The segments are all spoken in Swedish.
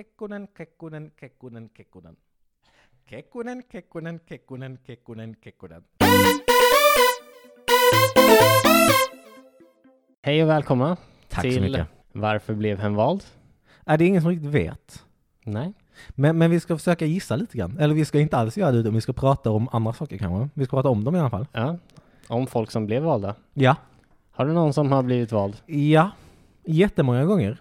Kekkonen, Kekkonen, Kekkonen, Kekkonen. Kekkonen, Kekkonen, Kekkonen, Kekkonen, Kekkonen. Hej och välkomna Tack så till mycket. Varför blev hen vald? Är Äh, det är ingen som riktigt vet. Nej. Men, men vi ska försöka gissa lite grann. Eller vi ska inte alls göra det, utan vi ska prata om andra saker kanske. Vi ska prata om dem i alla fall. Ja. Om folk som blev valda. Ja. Har du någon som har blivit vald? Ja. Jättemånga gånger.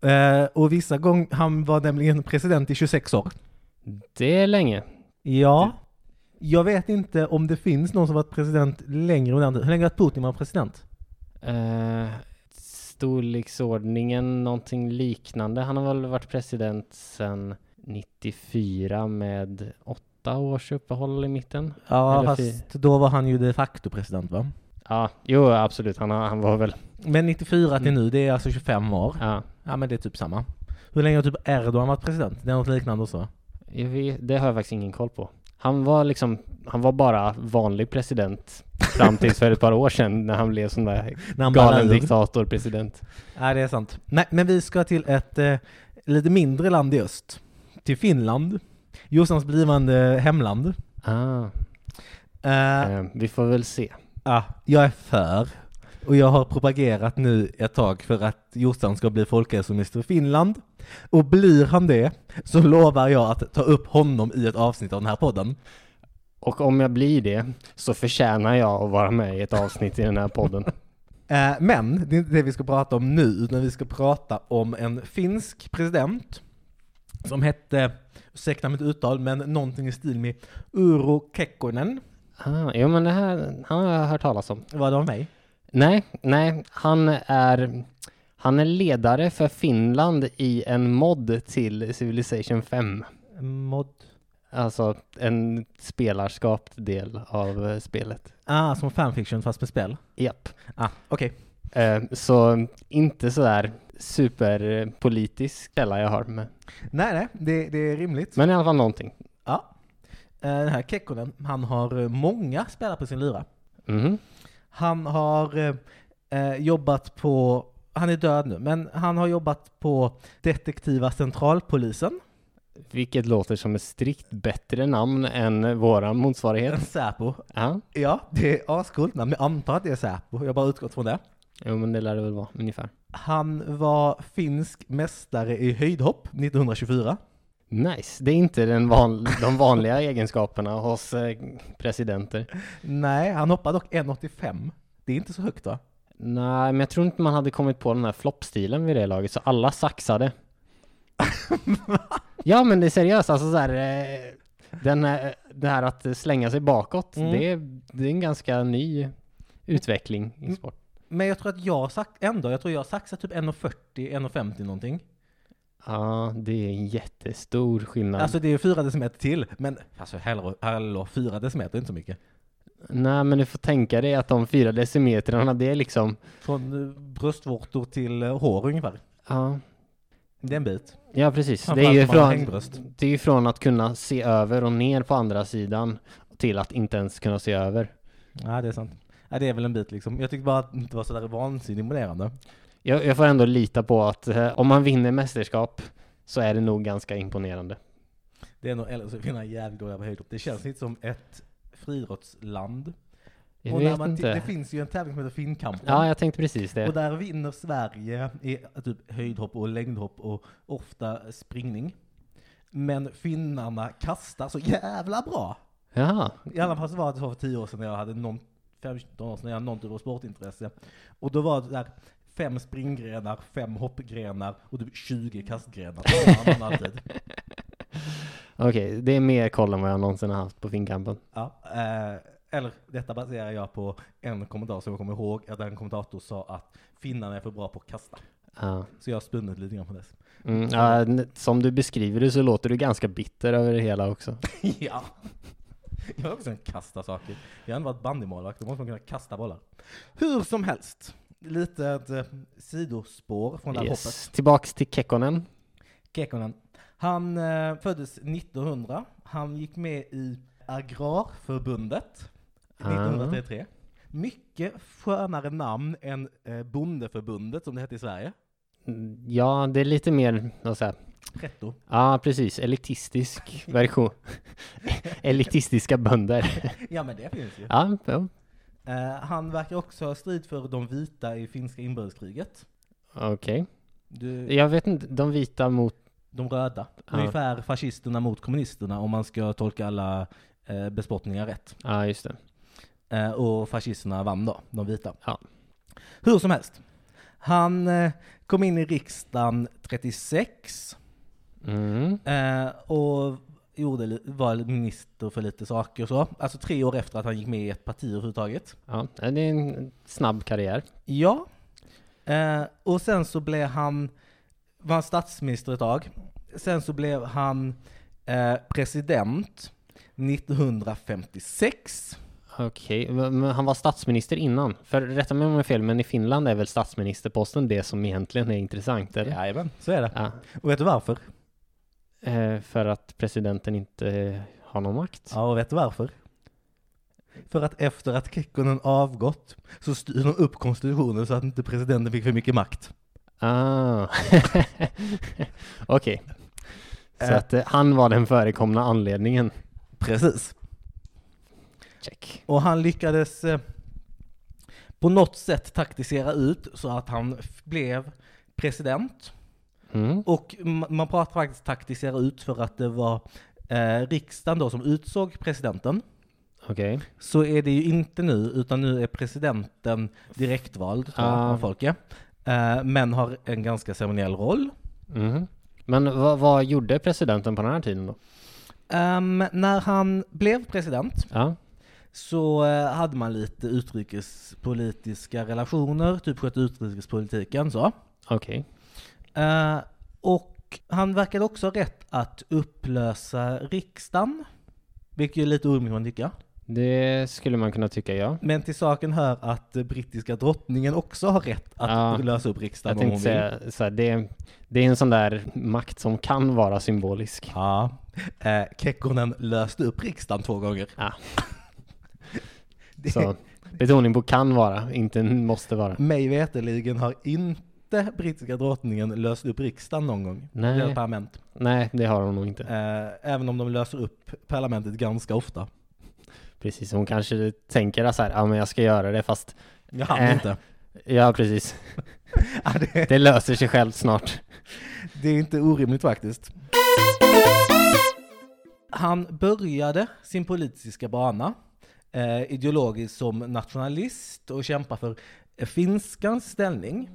Eh, och vissa gånger, han var nämligen president i 26 år. Det är länge. Ja. Jag vet inte om det finns någon som varit president längre än andra. Hur länge har Putin varit president? Eh, storleksordningen, någonting liknande. Han har väl varit president sedan 94 med åtta års uppehåll i mitten. Ja, Eller fi- fast då var han ju de facto president va? Ja, jo absolut. Han, har, han var väl... Men 94 till nu, det är alltså 25 år. Ja. Ja, men det är typ samma. Hur länge har typ Erdogan varit president? Det är något liknande också. Jag vet, det har jag faktiskt ingen koll på. Han var liksom, han var bara vanlig president fram tills för ett par år sedan när han blev sån där När han galen liksom. ballade ur. diktator president. Ja, det är sant. Nej, men vi ska till ett eh, lite mindre land i öst. Till Finland. Jossans blivande hemland. Ah, Eh, eh, vi får väl se. Ja, jag är för. Och jag har propagerat nu ett tag för att Jossan ska bli folkhälsominister i Finland. Och blir han det så lovar jag att ta upp honom i ett avsnitt av den här podden. Och om jag blir det så förtjänar jag att vara med i ett avsnitt i den här podden. Eh, Men det är inte det vi ska prata om nu, utan vi ska prata om en finsk president som hette, ursäkta mitt uttal, men någonting i stil med Urho Kekkonen. Ah, jo men det här, han har jag hört talas om. Var det av mig? Nej, nej, han är, han är ledare för Finland i en mod till Civilization 5. Mod... Alltså en spelarskapt del av eh, spelet. Ah, som fanfiction fast med spel. Japp. Ah, okej. Eh, så inte sådär superpolitisk källa jag har med. Nej, nej, det, det är rimligt. Men i alla fall någonting. Ja. Eh, Den här Kekkonen, han har eh, många spelare på sin lyra. Mhm. Han har eh, eh, jobbat på, han är död nu, men han har jobbat på Detektiva Centralpolisen, Vilket låter som ett strikt bättre namn än våra motsvarighet. Säpo. Ja, Ja, det är ascoolt namn, men jag antar att det är Säpo. Jag har bara utgått från det. jo men det lär det väl vara ungefär. Han var finsk mästare i höjdhopp 1924. Nice, det är inte den van, de vanliga egenskaperna hos eh, presidenter. Nej, han hoppade dock 1,85. Det är inte så högt va? Nej, men jag tror inte man hade kommit på den här floppstilen vid det laget, så alla saxade. ja, men det är seriöst, alltså så här, eh, den, här- det här att slänga sig bakåt, Mm. det, är, det är en ganska ny utveckling i Mm. sport. Men jag tror att jag sax, ändå, jag tror jag saxar typ 1,40, 1,50 någonting. Ja, det är en jättestor skillnad. Alltså det är ju fyra decimeter till, men alltså hallå, hallå fyra decimeter är inte så mycket. Nej, men du får tänka dig att de fyra decimetrarna, det är liksom, Från eh, bröstvårtor till eh, hår ungefär. ja, Det är en bit. ja precis. Det är Framförallt ju om man har från, hängbröst. Det är ju från att kunna se över och ner på andra sidan till att inte ens kunna se över. Ja, det är sant. Ja, det är väl en bit liksom. Jag tyckte bara att det inte var sådär vansinnigt imponerande. Jag, jag får ändå lita på att eh, om man vinner mästerskap så är det nog ganska imponerande. Det är nog, eller så är finnarna jävligt dåliga på höjdhopp. Det känns lite som ett friidrottsland. Jag Och när vet man ti- inte. Det finns ju en tävling som heter Finnkampen. Ja, jag tänkte precis Och det. där vinner Sverige i typ höjdhopp och längdhopp och ofta springning. Men finnarna kastar så jävla bra. Jaha. I alla fall så var det så för tio år sedan när jag hade någon, 15 år sedan när jag hade någon typ av sportintresse. Och då var det där fem springgrenar, fem hoppgrenar och typ 20 kastgrenar. Det var man alltid. Okej, det är mer koll än vad jag någonsin har haft på finkampen. Ja, eh, eller detta baserar jag på en kommentar som jag kommer ihåg, att en kommentator sa att finnarna är för bra på att kasta. Ja. Så jag har spunnit lite grann på det. Mm, ja, n- som du beskriver det så låter du ganska bitter över det hela också. ja. Jag är också en kasta saker. Jag har ändå varit bandymålvakt, då måste man kunna kasta bollar. Hur som helst, lite ett eh, sidospår från det här hoppet. Yes. Tillbaks till Kekkonen. Kekkonen. Han eh, föddes 1900. Han gick med i Agrarförbundet Ah. 1933. Mycket skönare namn än eh, Bondeförbundet som det hette i Sverige. Ja, det är lite mer, vad ska jag säga, Pretto. Ja, precis. Elitistisk version. Elitistiska bönder. Ja men det finns ju. Ja, ja. Eh, han verkar också ha strid för de vita i finska inbördeskriget. okej. Du, Jag vet inte, de vita mot... De röda. Ja. Ungefär fascisterna mot kommunisterna om man ska tolka alla eh, bespottningar rätt. Ja, just det. Eh, och fascisterna vann då, de vita. Ja. Hur som helst. Han eh, kom in i riksdagen 36 Mm. eh, och gjorde, li- var minister för lite saker och så. Alltså tre år efter att han gick med i ett parti överhuvudtaget. Ja, det är en snabb karriär. Ja. Eh, och sen så blev han, var han statsminister ett tag. Sen så blev han eh, president 1956. Okej, men han var statsminister innan. För rätta mig om jag har fel, men i Finland är väl statsministerposten det som egentligen är intressant, eller? Jajamän, så är det. Ja. Och vet du varför? Eh, För att presidenten inte har någon makt. Ja, och vet du varför? För att efter att Kekkonen avgått så styr de upp konstitutionen så att inte presidenten fick för mycket makt. Ah. Okej. Så Eh. att eh, han var den förekomna anledningen. Precis. Check. Och han lyckades eh, på något sätt taktisera ut så att han f- blev president. Mm. Och ma- man pratar faktiskt taktisera ut för att det var eh, riksdagen då som utsåg presidenten. Okej. Så är det ju inte nu, utan nu är presidenten direktvald tror jag, Ah. av folket. Eh, men har en ganska ceremoniell roll. Mhm. Men vad, vad gjorde presidenten på den här tiden då? Ehm, när han blev president Ja. så eh, hade man lite utrikespolitiska relationer, typ skötte utrikespolitiken så. Okej. Eh, och han verkade också ha rätt att upplösa riksdagen, vilket ju är lite orimligt man tycker. Det skulle man kunna tycka, ja. Men till saken hör att eh, brittiska drottningen också har rätt att Ja. lösa upp Jag riksdagen om hon tänkte vill. säga så här, det, det är en sån där makt som kan vara symbolisk. Ja. Eh, Kekkonen löste upp riksdagen två gånger. Ja. Det- Så betoning på kan vara, inte måste vara. Mig veterligen har inte brittiska drottningen löst upp riksdagen någon gång. Nej. Eller parlament. Nej, det har hon nog inte. Eh, även om de löser upp parlamentet ganska ofta. Precis, hon kanske tänker så här, ja men jag ska göra det fast, Jag hann Äh. inte. ja precis, Ja, det, det löser sig självt snart. det är inte orimligt faktiskt. Han började sin politiska bana eh, ideologiskt som nationalist och kämpar för eh, finskans ställning.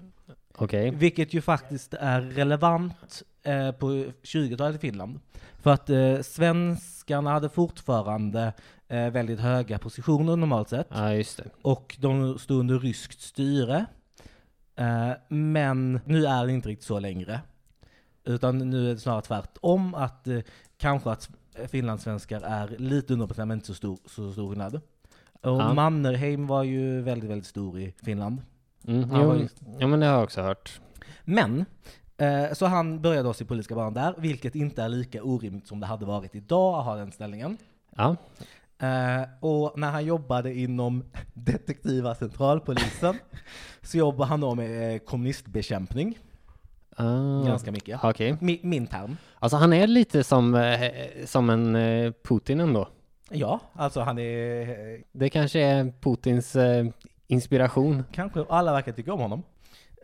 Okej, Vilket ju faktiskt är relevant eh, på 20-talet i Finland. För att eh, svenskarna hade fortfarande eh, väldigt höga positioner normalt sett. ja just det. Och de stod under ryskt styre. Eh, men nu är det inte riktigt så längre. Utan nu är det snarare tvärtom. Att eh, kanske att s- finlandssvenskar är lite underrepresenterade men inte så stor, så stor skillnad. Och Ja. Mannerheim var ju väldigt, väldigt stor i Finland. Mm, Ja, jo, just ja men det har jag också hört. Men, eh, så han började då sin politiska bana där, vilket inte är lika orimligt som det hade varit idag att ha den ställningen. Ja, Eh, och när han jobbade inom Detektiva Centralpolisen så jobbade han då med eh, kommunistbekämpning ah, ganska mycket. okej. Min, min term. Alltså han är lite som, eh, som en eh, Putin ändå. Ja, alltså han är... eh, Det kanske är Putins eh, inspiration. Kanske alla verkar tycka om honom.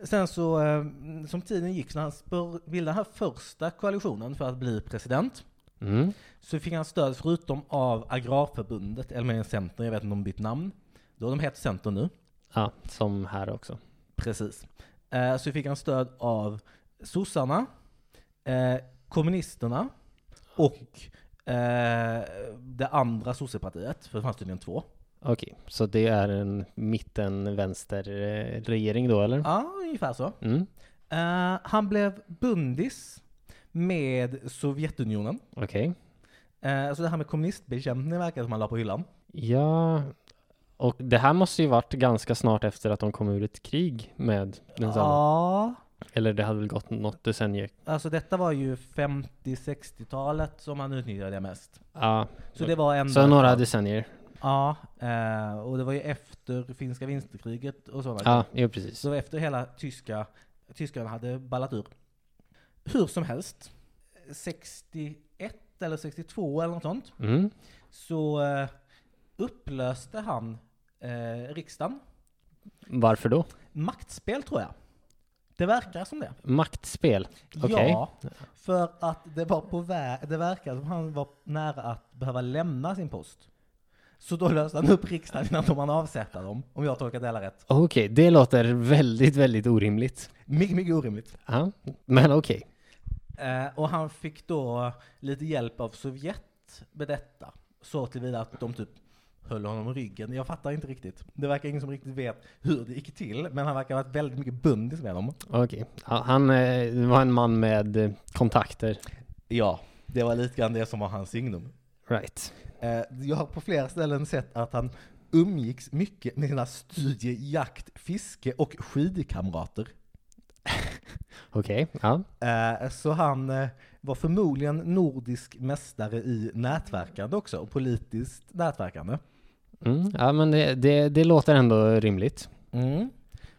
Sen så, eh, som tiden gick, så han spör- bildade den här första koalitionen för att bli president. Mm. Så fick han stöd förutom av Agrarförbundet, eller mer Centern, jag vet inte om de bytt namn. Då har de heter Centern nu. Ja, som här också. Precis. Eh, så fick han stöd av sossarna, eh, kommunisterna och eh, det andra sossepartiet, för det fanns tydligen två. Okej, så det är en mitten-vänster-regering då eller? Ja, ungefär så. Mm. Eh, han blev bundis med Sovjetunionen. Okej. Eh, så det här med kommunistbekämpning verkar som han la på hyllan. Ja, och det här måste ju varit ganska snart efter att de kom ur ett krig med densamma. Ja, Eller det hade väl gått något decennium. alltså detta var ju 50-60-talet som han utnyttjade det mest. Ja, Så det var en så några decennier. Ja, eh, och det var ju efter finska vinterkriget och sådana Ja, grejer. jo precis. Så efter hela tyska, tyskarna hade ballat ur. Hur som helst, 61 eller 62 eller något sånt, Mm. så eh, upplöste han eh, riksdagen. Varför då? Maktspel tror jag. Det verkar som det. Maktspel? Okej. Ja, för att det var på väg, det verkar som han var nära att behöva lämna sin post. Så då löste han upp riksdagen innan de hann avsätta dem, om jag tolkat det hela rätt. Okej, det låter väldigt, väldigt orimligt. Mycket, mycket orimligt. Ja, men okej. Eh, och han fick då lite hjälp av Sovjet med detta. Så tillvida att de typ höll honom i ryggen. Jag fattar inte riktigt. Det verkar ingen som riktigt vet hur det gick till, men han verkar ha varit väldigt mycket bundis med dem. Okej. Ja, han eh, var en man med eh, kontakter. Ja, det var lite grann det som var hans signum. Right. Eh, jag har på flera ställen sett att han umgicks mycket med sina studie-, jakt-, fiske och skidkamrater. Okej, ja. Eh, så han eh, var förmodligen nordisk mästare i nätverkande också, och politiskt nätverkande. Mm. Ja, men det, det, det låter ändå rimligt. Mm.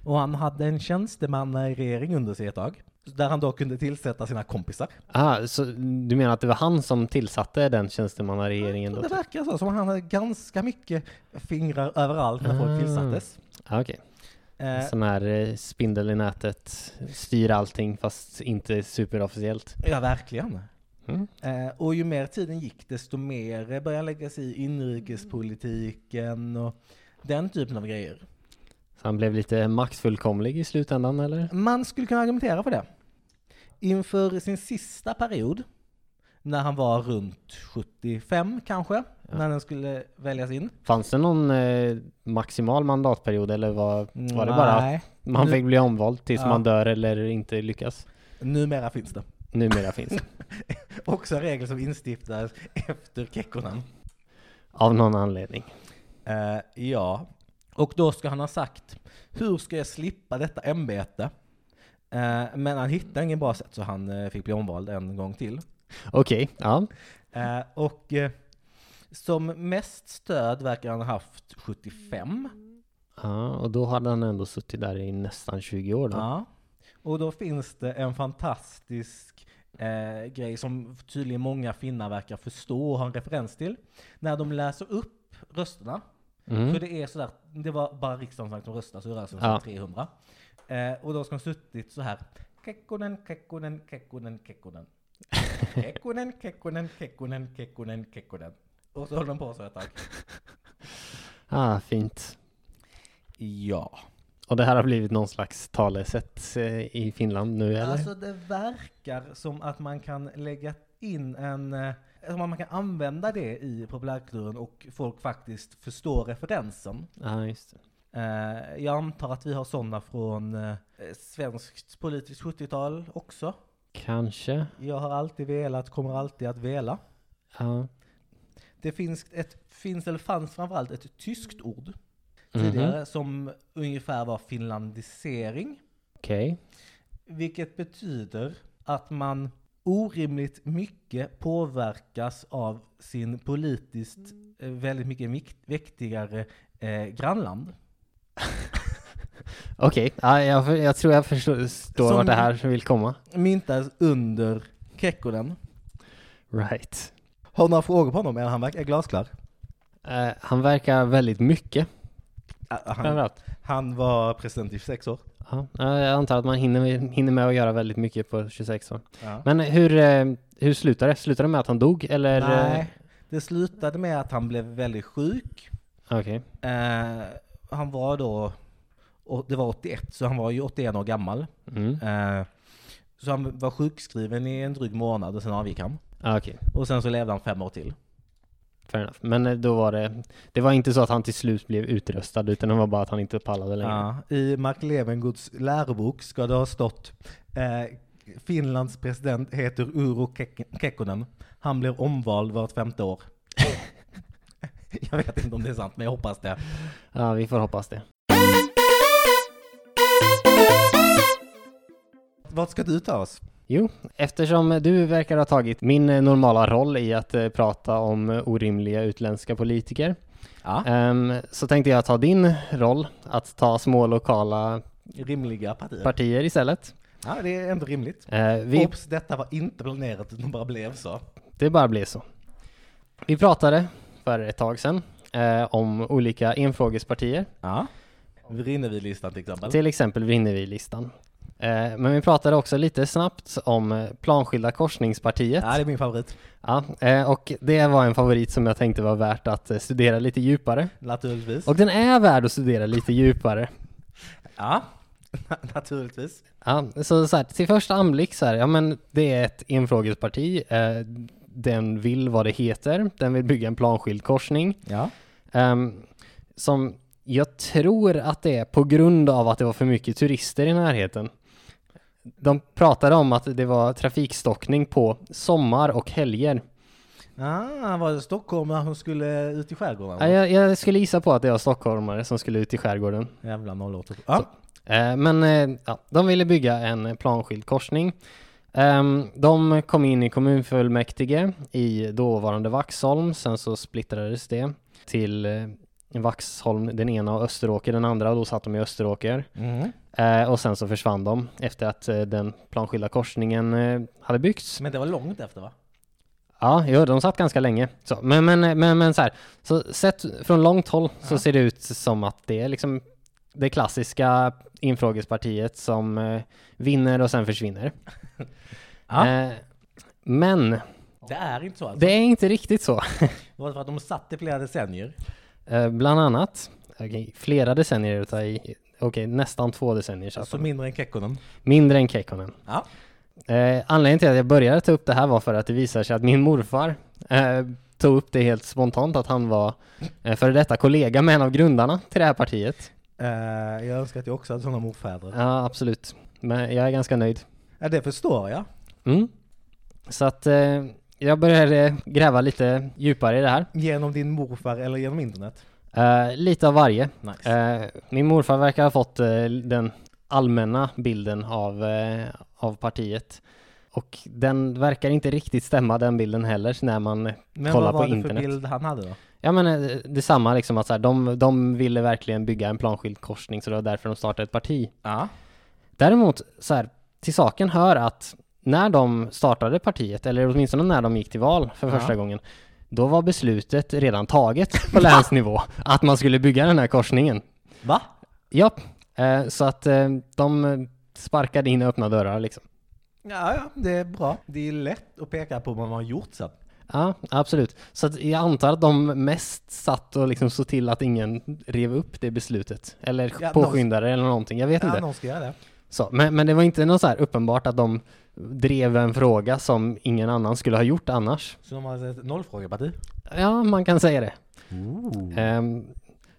Och han hade en tjänstemannaregering under sig ett tag, där han då kunde tillsätta sina kompisar. Ah, så du menar att det var han som tillsatte den tjänstemannaregeringen då? Det verkar så, som han hade ganska mycket fingrar överallt när folk Ah. tillsattes. Ah, Okej. Eh, Sån här eh, spindel i nätet, styr allting fast inte superofficiellt. ja, verkligen. Mm. Eh, och ju mer tiden gick, desto mer började han lägga sig i inrikespolitiken Mm. och den typen av grejer. Så han blev lite maktfullkomlig i slutändan eller? Man skulle kunna argumentera för det. Inför sin sista period, när han var runt 75 kanske, när den skulle väljas in. Fanns det någon eh, maximal mandatperiod eller var, var det bara Nej, Man Nu- fick bli omvald tills Ja. man dör eller inte lyckas. numera finns det. Numera finns det. Också en regel som instiftades efter Kekkonen. Av någon anledning. Eh, ja, och då ska han ha sagt hur ska jag slippa detta ämbete? Eh, men han hittade ingen bra sätt så han eh, fick bli omvald en gång till. Okej, ja. Eh, och eh, som mest stöd verkar han ha haft 75. ja. Och då hade han ändå suttit där i nästan 20 år då. Ja. Och då finns det en fantastisk eh, grej som tydligen många finnar verkar förstå och ha en referens till. När de läser upp rösterna Mm. För det är sådär, det var bara riksdagen som röstade, så det rör sig om Ja. 300. Eh, och då ska de suttit så här. Kekkonen, Kekkonen, Kekkonen, Kekkonen. Kekkonen, Kekkonen, Kekkonen, Kekkonen, Kekkonen. Och så håller de på så ett tag. Ah, fint. Ja. Och det här har blivit någon slags talesätt eh, i Finland nu eller? Alltså det verkar som att man kan lägga in en, eh, som att man kan använda det i populärkulturen och folk faktiskt förstår referensen. Ja, just det. Eh, jag antar att vi har sådana från eh, svenskt politiskt 70-tal också. Kanske. Jag har alltid velat, kommer alltid att vela. Ja. Det finns, ett, finns eller fanns framförallt ett tyskt ord Mhm. tidigare som ungefär var finlandisering. Okej. Vilket betyder att man orimligt mycket påverkas av sin politiskt eh, väldigt mycket vikt- viktigare eh, grannland. Okej, ja, jag, för- jag tror jag förstår Som- vart det här vill komma. Myntas under Kekkonen. Right. Har du några frågor på honom? Eller han verkar glasklar. Eh, han verkar väldigt mycket. Ah, Han, Framförallt. han var president i 26 år. Ja, ja, jag antar att man hinner, hinner med att göra väldigt mycket på 26 år. Ja. Men hur, eh, hur slutade det? Slutade det med att han dog eller? eh, Nej, det slutade med att han blev väldigt sjuk. Okej. Eh, han var då, och det var 81, så han var ju 81 år gammal. Mm. Eh, så han var sjukskriven i en dryg månad och sen avgick han. Ah, Okej, Och sen så levde han fem år till. fair enough. Men eh, då var det, det var inte så att han till slut blev utröstad utan det var bara att han inte pallade längre. Ja, I Mark Levengoods lärobok ska det ha stått eh, Finlands president heter Urho Kek- Kekkonen. Han blir omvald vart femte år. jag vet inte om det är sant, men jag hoppas det. Ja, vi får hoppas det. Vart ska du ta oss? Jo, eftersom du verkar ha tagit min eh, normala roll i att eh, prata om eh, orimliga utländska politiker Ja. ehm, så tänkte jag ta din roll att ta små lokala Eh, Rimliga partier. partier istället. Ja, det är ändå rimligt. Eh, vi, Ops, detta var inte planerat, utan bara blev så. det bara blev så. Vi pratade för ett tag sedan eh, om olika enfrågespartier. Ja. Vrinnevi-listan till exempel. Till exempel vinner vi listan. Eh, men vi pratade också lite snabbt om eh, planskilda korsningspartiet. Ja, det är min favorit. Ja, eh, och det var en favorit som jag tänkte var värt att eh, studera lite djupare. Naturligtvis. Och den är värd att studera lite djupare. Ja, naturligtvis. Ja, så, så här, till första anblick så här, ja men det är ett enfrågesparti. Eh, den vill vad det heter. Den vill bygga en planskild korsning. Ja. Ehm, som jag tror att det är på grund av att det var för mycket turister i närheten. De pratade om att det var trafikstockning på sommar och helger. Ah, var det stockholmare som skulle ut i skärgården? Ja, Jag, jag skulle gissa på att det var stockholmare som skulle ut i skärgården. Jävla nollåter. Ja. Eh, Men eh, ja, de ville bygga en planskild korsning. Ehm, De kom in i kommunfullmäktige i dåvarande Vaxholm, sen så splittrades det till eh, Vaxholm den ena och Österåker den andra och då satt de i Österåker. Mm. Eh, Och sen så försvann de efter att eh, den planskilda korsningen eh, hade byggts. Men det var långt efter va? Ja, jo, de satt ganska länge. Så, men, men, men, men så här, så sett från långt håll så ser det ut som att det är liksom det klassiska infrågespartiet som eh, vinner och sen försvinner. Ja. Eh, men Det är inte så alltså. det är inte riktigt så. Det var för att de satt i flera decennier. Eh, bland annat, okej, flera decennier, utan i- okej, nästan två decennier satt Så de. mindre än Kekkonen. Mindre än Kekkonen. Ja. Eh, anledningen till att jag började ta upp det här var för att det visar sig att min morfar eh, tog upp det helt spontant att han var eh, före detta kollega med en av grundarna till det här partiet. Eh, jag önskar att jag också hade sådana morfäder. Ja, absolut. Men jag är ganska nöjd. Ja, det förstår jag. Mm. Så att eh, jag började gräva lite djupare i det här. Genom din morfar eller genom internet. Eh, lite av varje. Nice. Eh, min morfar verkar ha fått eh, den allmänna bilden av, eh, av partiet. Och den verkar inte riktigt stämma den bilden heller när man Men kolla vad var på det internet. för bild han hade då? Ja men eh, detsamma liksom att så här, de, de ville verkligen bygga en planskild korsning så det var därför de startade ett parti. Ja. Däremot så här, till saken hör att när de startade partiet, eller åtminstone när de gick till val för första gången, då var beslutet redan taget på länsnivå att man skulle bygga den här korsningen. Va? Ja, eh, så att eh, de sparkade in öppna dörrar liksom. Ja, ja, det är bra. Det är lätt att peka på vad man har gjort sen. Ja, absolut. Så att jag antar att de mest satt och liksom såg till att ingen rev upp det beslutet. Eller Ja, påskyndade det eller någonting, jag vet Ja, inte. någon ska göra det. Så, men, men det var inte något så här uppenbart att de drev en fråga som ingen annan skulle ha gjort annars. Så de har ett nollfrågeparti. Ja, man kan säga det. Ehm,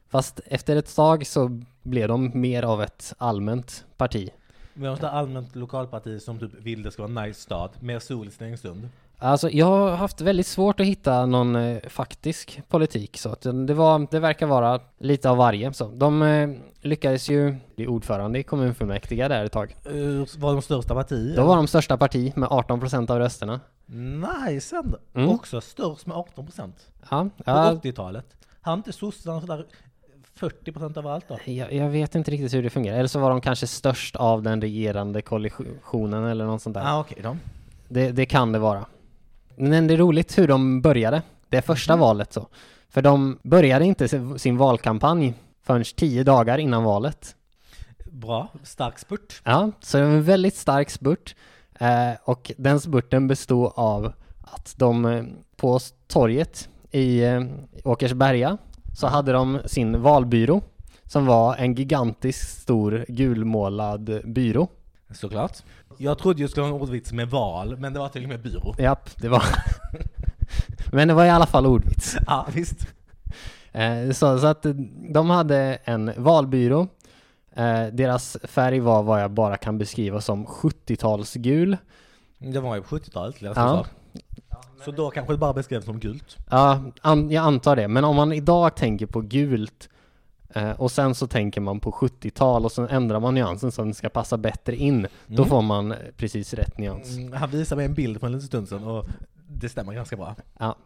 fast efter ett tag så blev de mer av ett allmänt parti. Vi har ett allmänt lokalparti som typ vill det ska vara en nice stad, mer sol i Stenungsund. Alltså jag har haft väldigt svårt att hitta någon eh, faktisk politik så att eh, det, var, det verkar vara lite av varje. Så de eh, lyckades ju bli ordförande i kommunfullmäktige där ett tag. Uh, var de största partier. Då var de största parti med 18% av rösterna. Nice ändå. Mm. Också störst med 18 procent. Ja, På ja, 80-talet. Har inte sossarna sådär 40 procent överallt då? jag, jag vet inte riktigt hur det fungerar. Eller så var de kanske störst av den regerande koalitionen eller något sånt där. Ja, ah, okej då. Det, det kan det vara. Men det är roligt hur de började, det första valet så. För de började inte sin- sin valkampanj förrän tio dagar innan valet. Bra. Stark spurt. Ja, så det var en väldigt stark spurt. Eh, och den spurten bestod av att de eh, på s- torget i eh, Åkersberga så hade de sin valbyrå som var en gigantisk stor gulmålad byrå. Såklart. Jag trodde ju skulle ha en ordvits med val, men det var till och med byrå. Japp, det var... Men det var i alla fall ordvits. Ja, ah, visst. Eh, Så, så att eh, de hade en valbyrå. Eh, Deras färg var vad jag bara kan beskriva som 70-talsgul. Det var ju på 70-talet, läste Ja. ja. Så då kanske det bara beskrevs som gult. Ja, an, jag antar det. Men om man idag tänker på gult eh, och sen så tänker man på 70-tal och sen ändrar man nyansen så att den ska passa bättre in. Då får man eh, precis rätt nyans. Mm, Han visade mig en bild för en liten stund sedan och det stämmer ganska bra. Ja.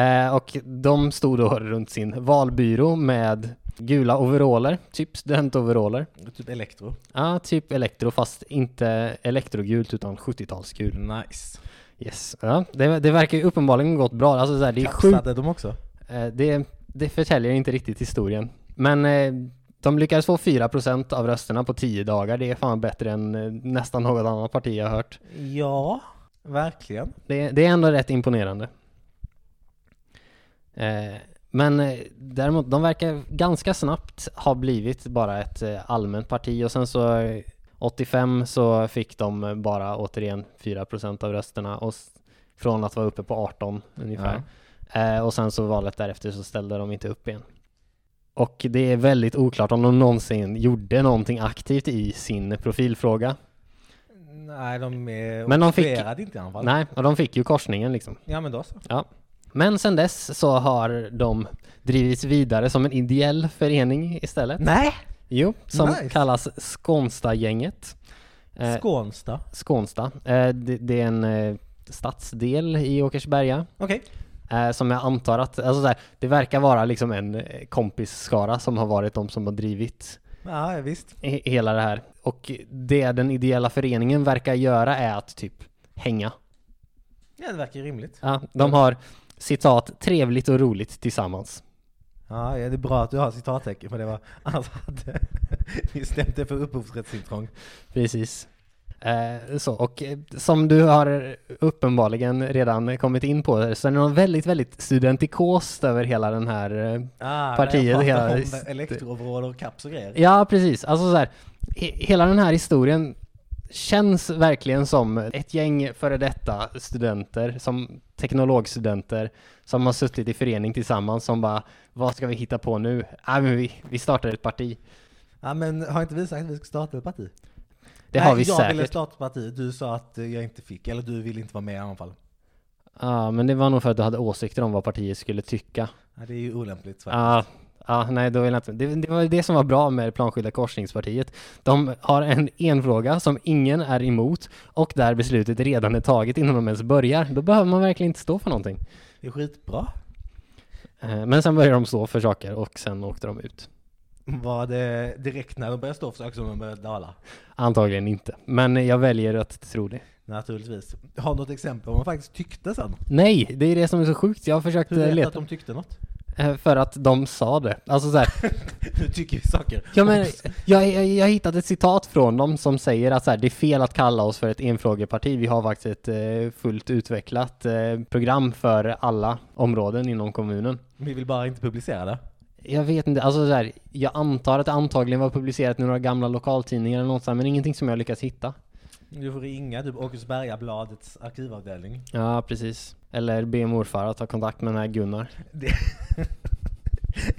Eh, och de stod då runt sin valbyrå med Gula overaller, typ studentoveraller. Typ elektro. Ja, typ elektro fast inte elektrogult utan 70-talsgul. Nice. Yes. Ja, det, det verkar ju uppenbarligen gått bra. Alltså så här, det är sjukt. Kapsade de också? Eh, Det, det förtäljer inte riktigt historien. Men eh, de lyckades få 4% av rösterna på 10 dagar. Det är fan bättre än eh, nästan något annat parti jag har hört. Ja, verkligen. Det, det är ändå rätt imponerande. Eh, men eh, däremot, de verkar ganska snabbt ha blivit bara ett eh, allmänt parti och sen så eh, 85 så fick de eh, bara återigen 4% av rösterna och s- från att vara uppe på 18 ungefär. Eh, och sen så valet därefter så ställde de inte upp igen. Och det är väldigt oklart om de någonsin gjorde någonting aktivt i sin profilfråga. Nej, de är Men de fick- obstruerade inte i alla fall. Nej, och de fick ju korsningen liksom. Ja, men då så. Men sen dess så har de drivits vidare som en ideell förening istället. Nej! Jo, som Nice. kallas Skånstagänget. Eh, Skånsta. Skånsta. Eh, det, det är en eh, stadsdel i Åkersberga. Okej. Eh, som jag antar att, alltså så här, det verkar vara liksom en eh, kompisskara som har varit de som har drivit Ja, ja, visst. he- hela det här. Och det den ideella föreningen verkar göra är att typ hänga. Ja, det verkar ju rimligt. Ja, de har citat trevligt och roligt tillsammans. Ja, ja, det är bra att du har citattecken för det var annars hade ni stämt det för upphovsrättsintrång. Precis. Eh, så, och eh, som du har uppenbarligen redan kommit in på så är det någon väldigt, väldigt studentikost över hela den här... eh, Ah, Partiet jag pratar hela- om Elektrooveraller och kaps och grejer. Ja, precis. Alltså så här, he- hela den här historien känns verkligen som ett gäng före detta studenter, som teknologstudenter, som har suttit i förening tillsammans som bara, vad ska vi hitta på nu? Ah, men vi, vi startar ett parti. Ja, men har inte vi sagt att vi ska starta ett parti? Det Nej, har vi jag ville säkert. starta ett parti. Du sa att eh, jag inte fick, eller du ville inte vara med i alla fall. Ja, men det var nog för att du hade åsikter om vad partiet skulle tycka. Ja, det är ju olämpligt. faktiskt. Ja, ja, nej då vill jag inte. Det, det var ju det som var bra med Planskilda korsningspartiet. De har en enfråga som ingen är emot och där beslutet redan är taget innan de ens börjar. Då behöver man verkligen inte stå för någonting. Det är skitbra. Eh, Men sen började de stå för saker och sen åkte de ut. Var det direkt när de började stå för saker som de började dala? Antagligen inte, men jag väljer att tro det. Naturligtvis. Har du något exempel på vad man faktiskt tyckte sen? Nej, det är det som är så sjukt. Jag har försökt Hur vet eh, du att leta de tyckte något? Eh, för att de sa det. Alltså så här, Nu tycker vi saker. Ja, men, jag, jag, jag har hittat ett citat från dem som säger att så här, det är fel att kalla oss för ett enfrågeparti. Vi har faktiskt ett eh, fullt utvecklat eh, program för alla områden inom kommunen. Vi vill bara inte publicera det. Jag vet inte, alltså så här, jag antar att det antagligen var publicerat i några gamla lokaltidningar eller något sånt, men ingenting som jag lyckats hitta. Du får ringa typ Åkersbergabladets arkivavdelning. Ja, precis. Eller be morfar att ta kontakt med den här Gunnar.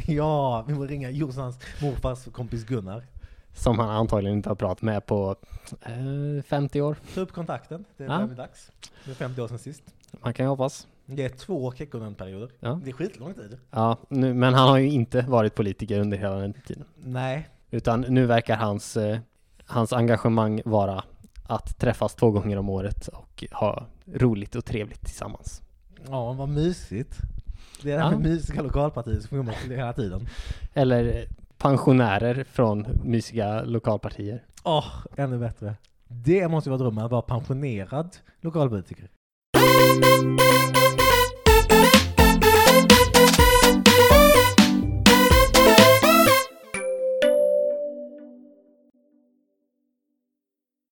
Ja, vi får ringa Jossans morfars kompis Gunnar. Som han antagligen inte har pratat med på eh, 50 år. Ta upp kontakten, det Ja. börjar bli dags. Det är 50 år sedan sist. Man kan ju hoppas. Det är två Kekkonen-perioder. Ja. Det är skitlång tid. Ja, nu, men han har ju inte varit politiker under hela den tiden. Nej, Utan nu verkar hans, eh, hans engagemang vara att träffas två gånger om året och ha roligt och trevligt tillsammans. ja vad mysigt. Det är det här Ja. med mysiga lokalpartier som kommer till hela tiden. Eller pensionärer från mysiga lokalpartier. Åh, ännu bättre. Det måste ju vara drömmen, att vara pensionerad lokalpolitiker. Thank you.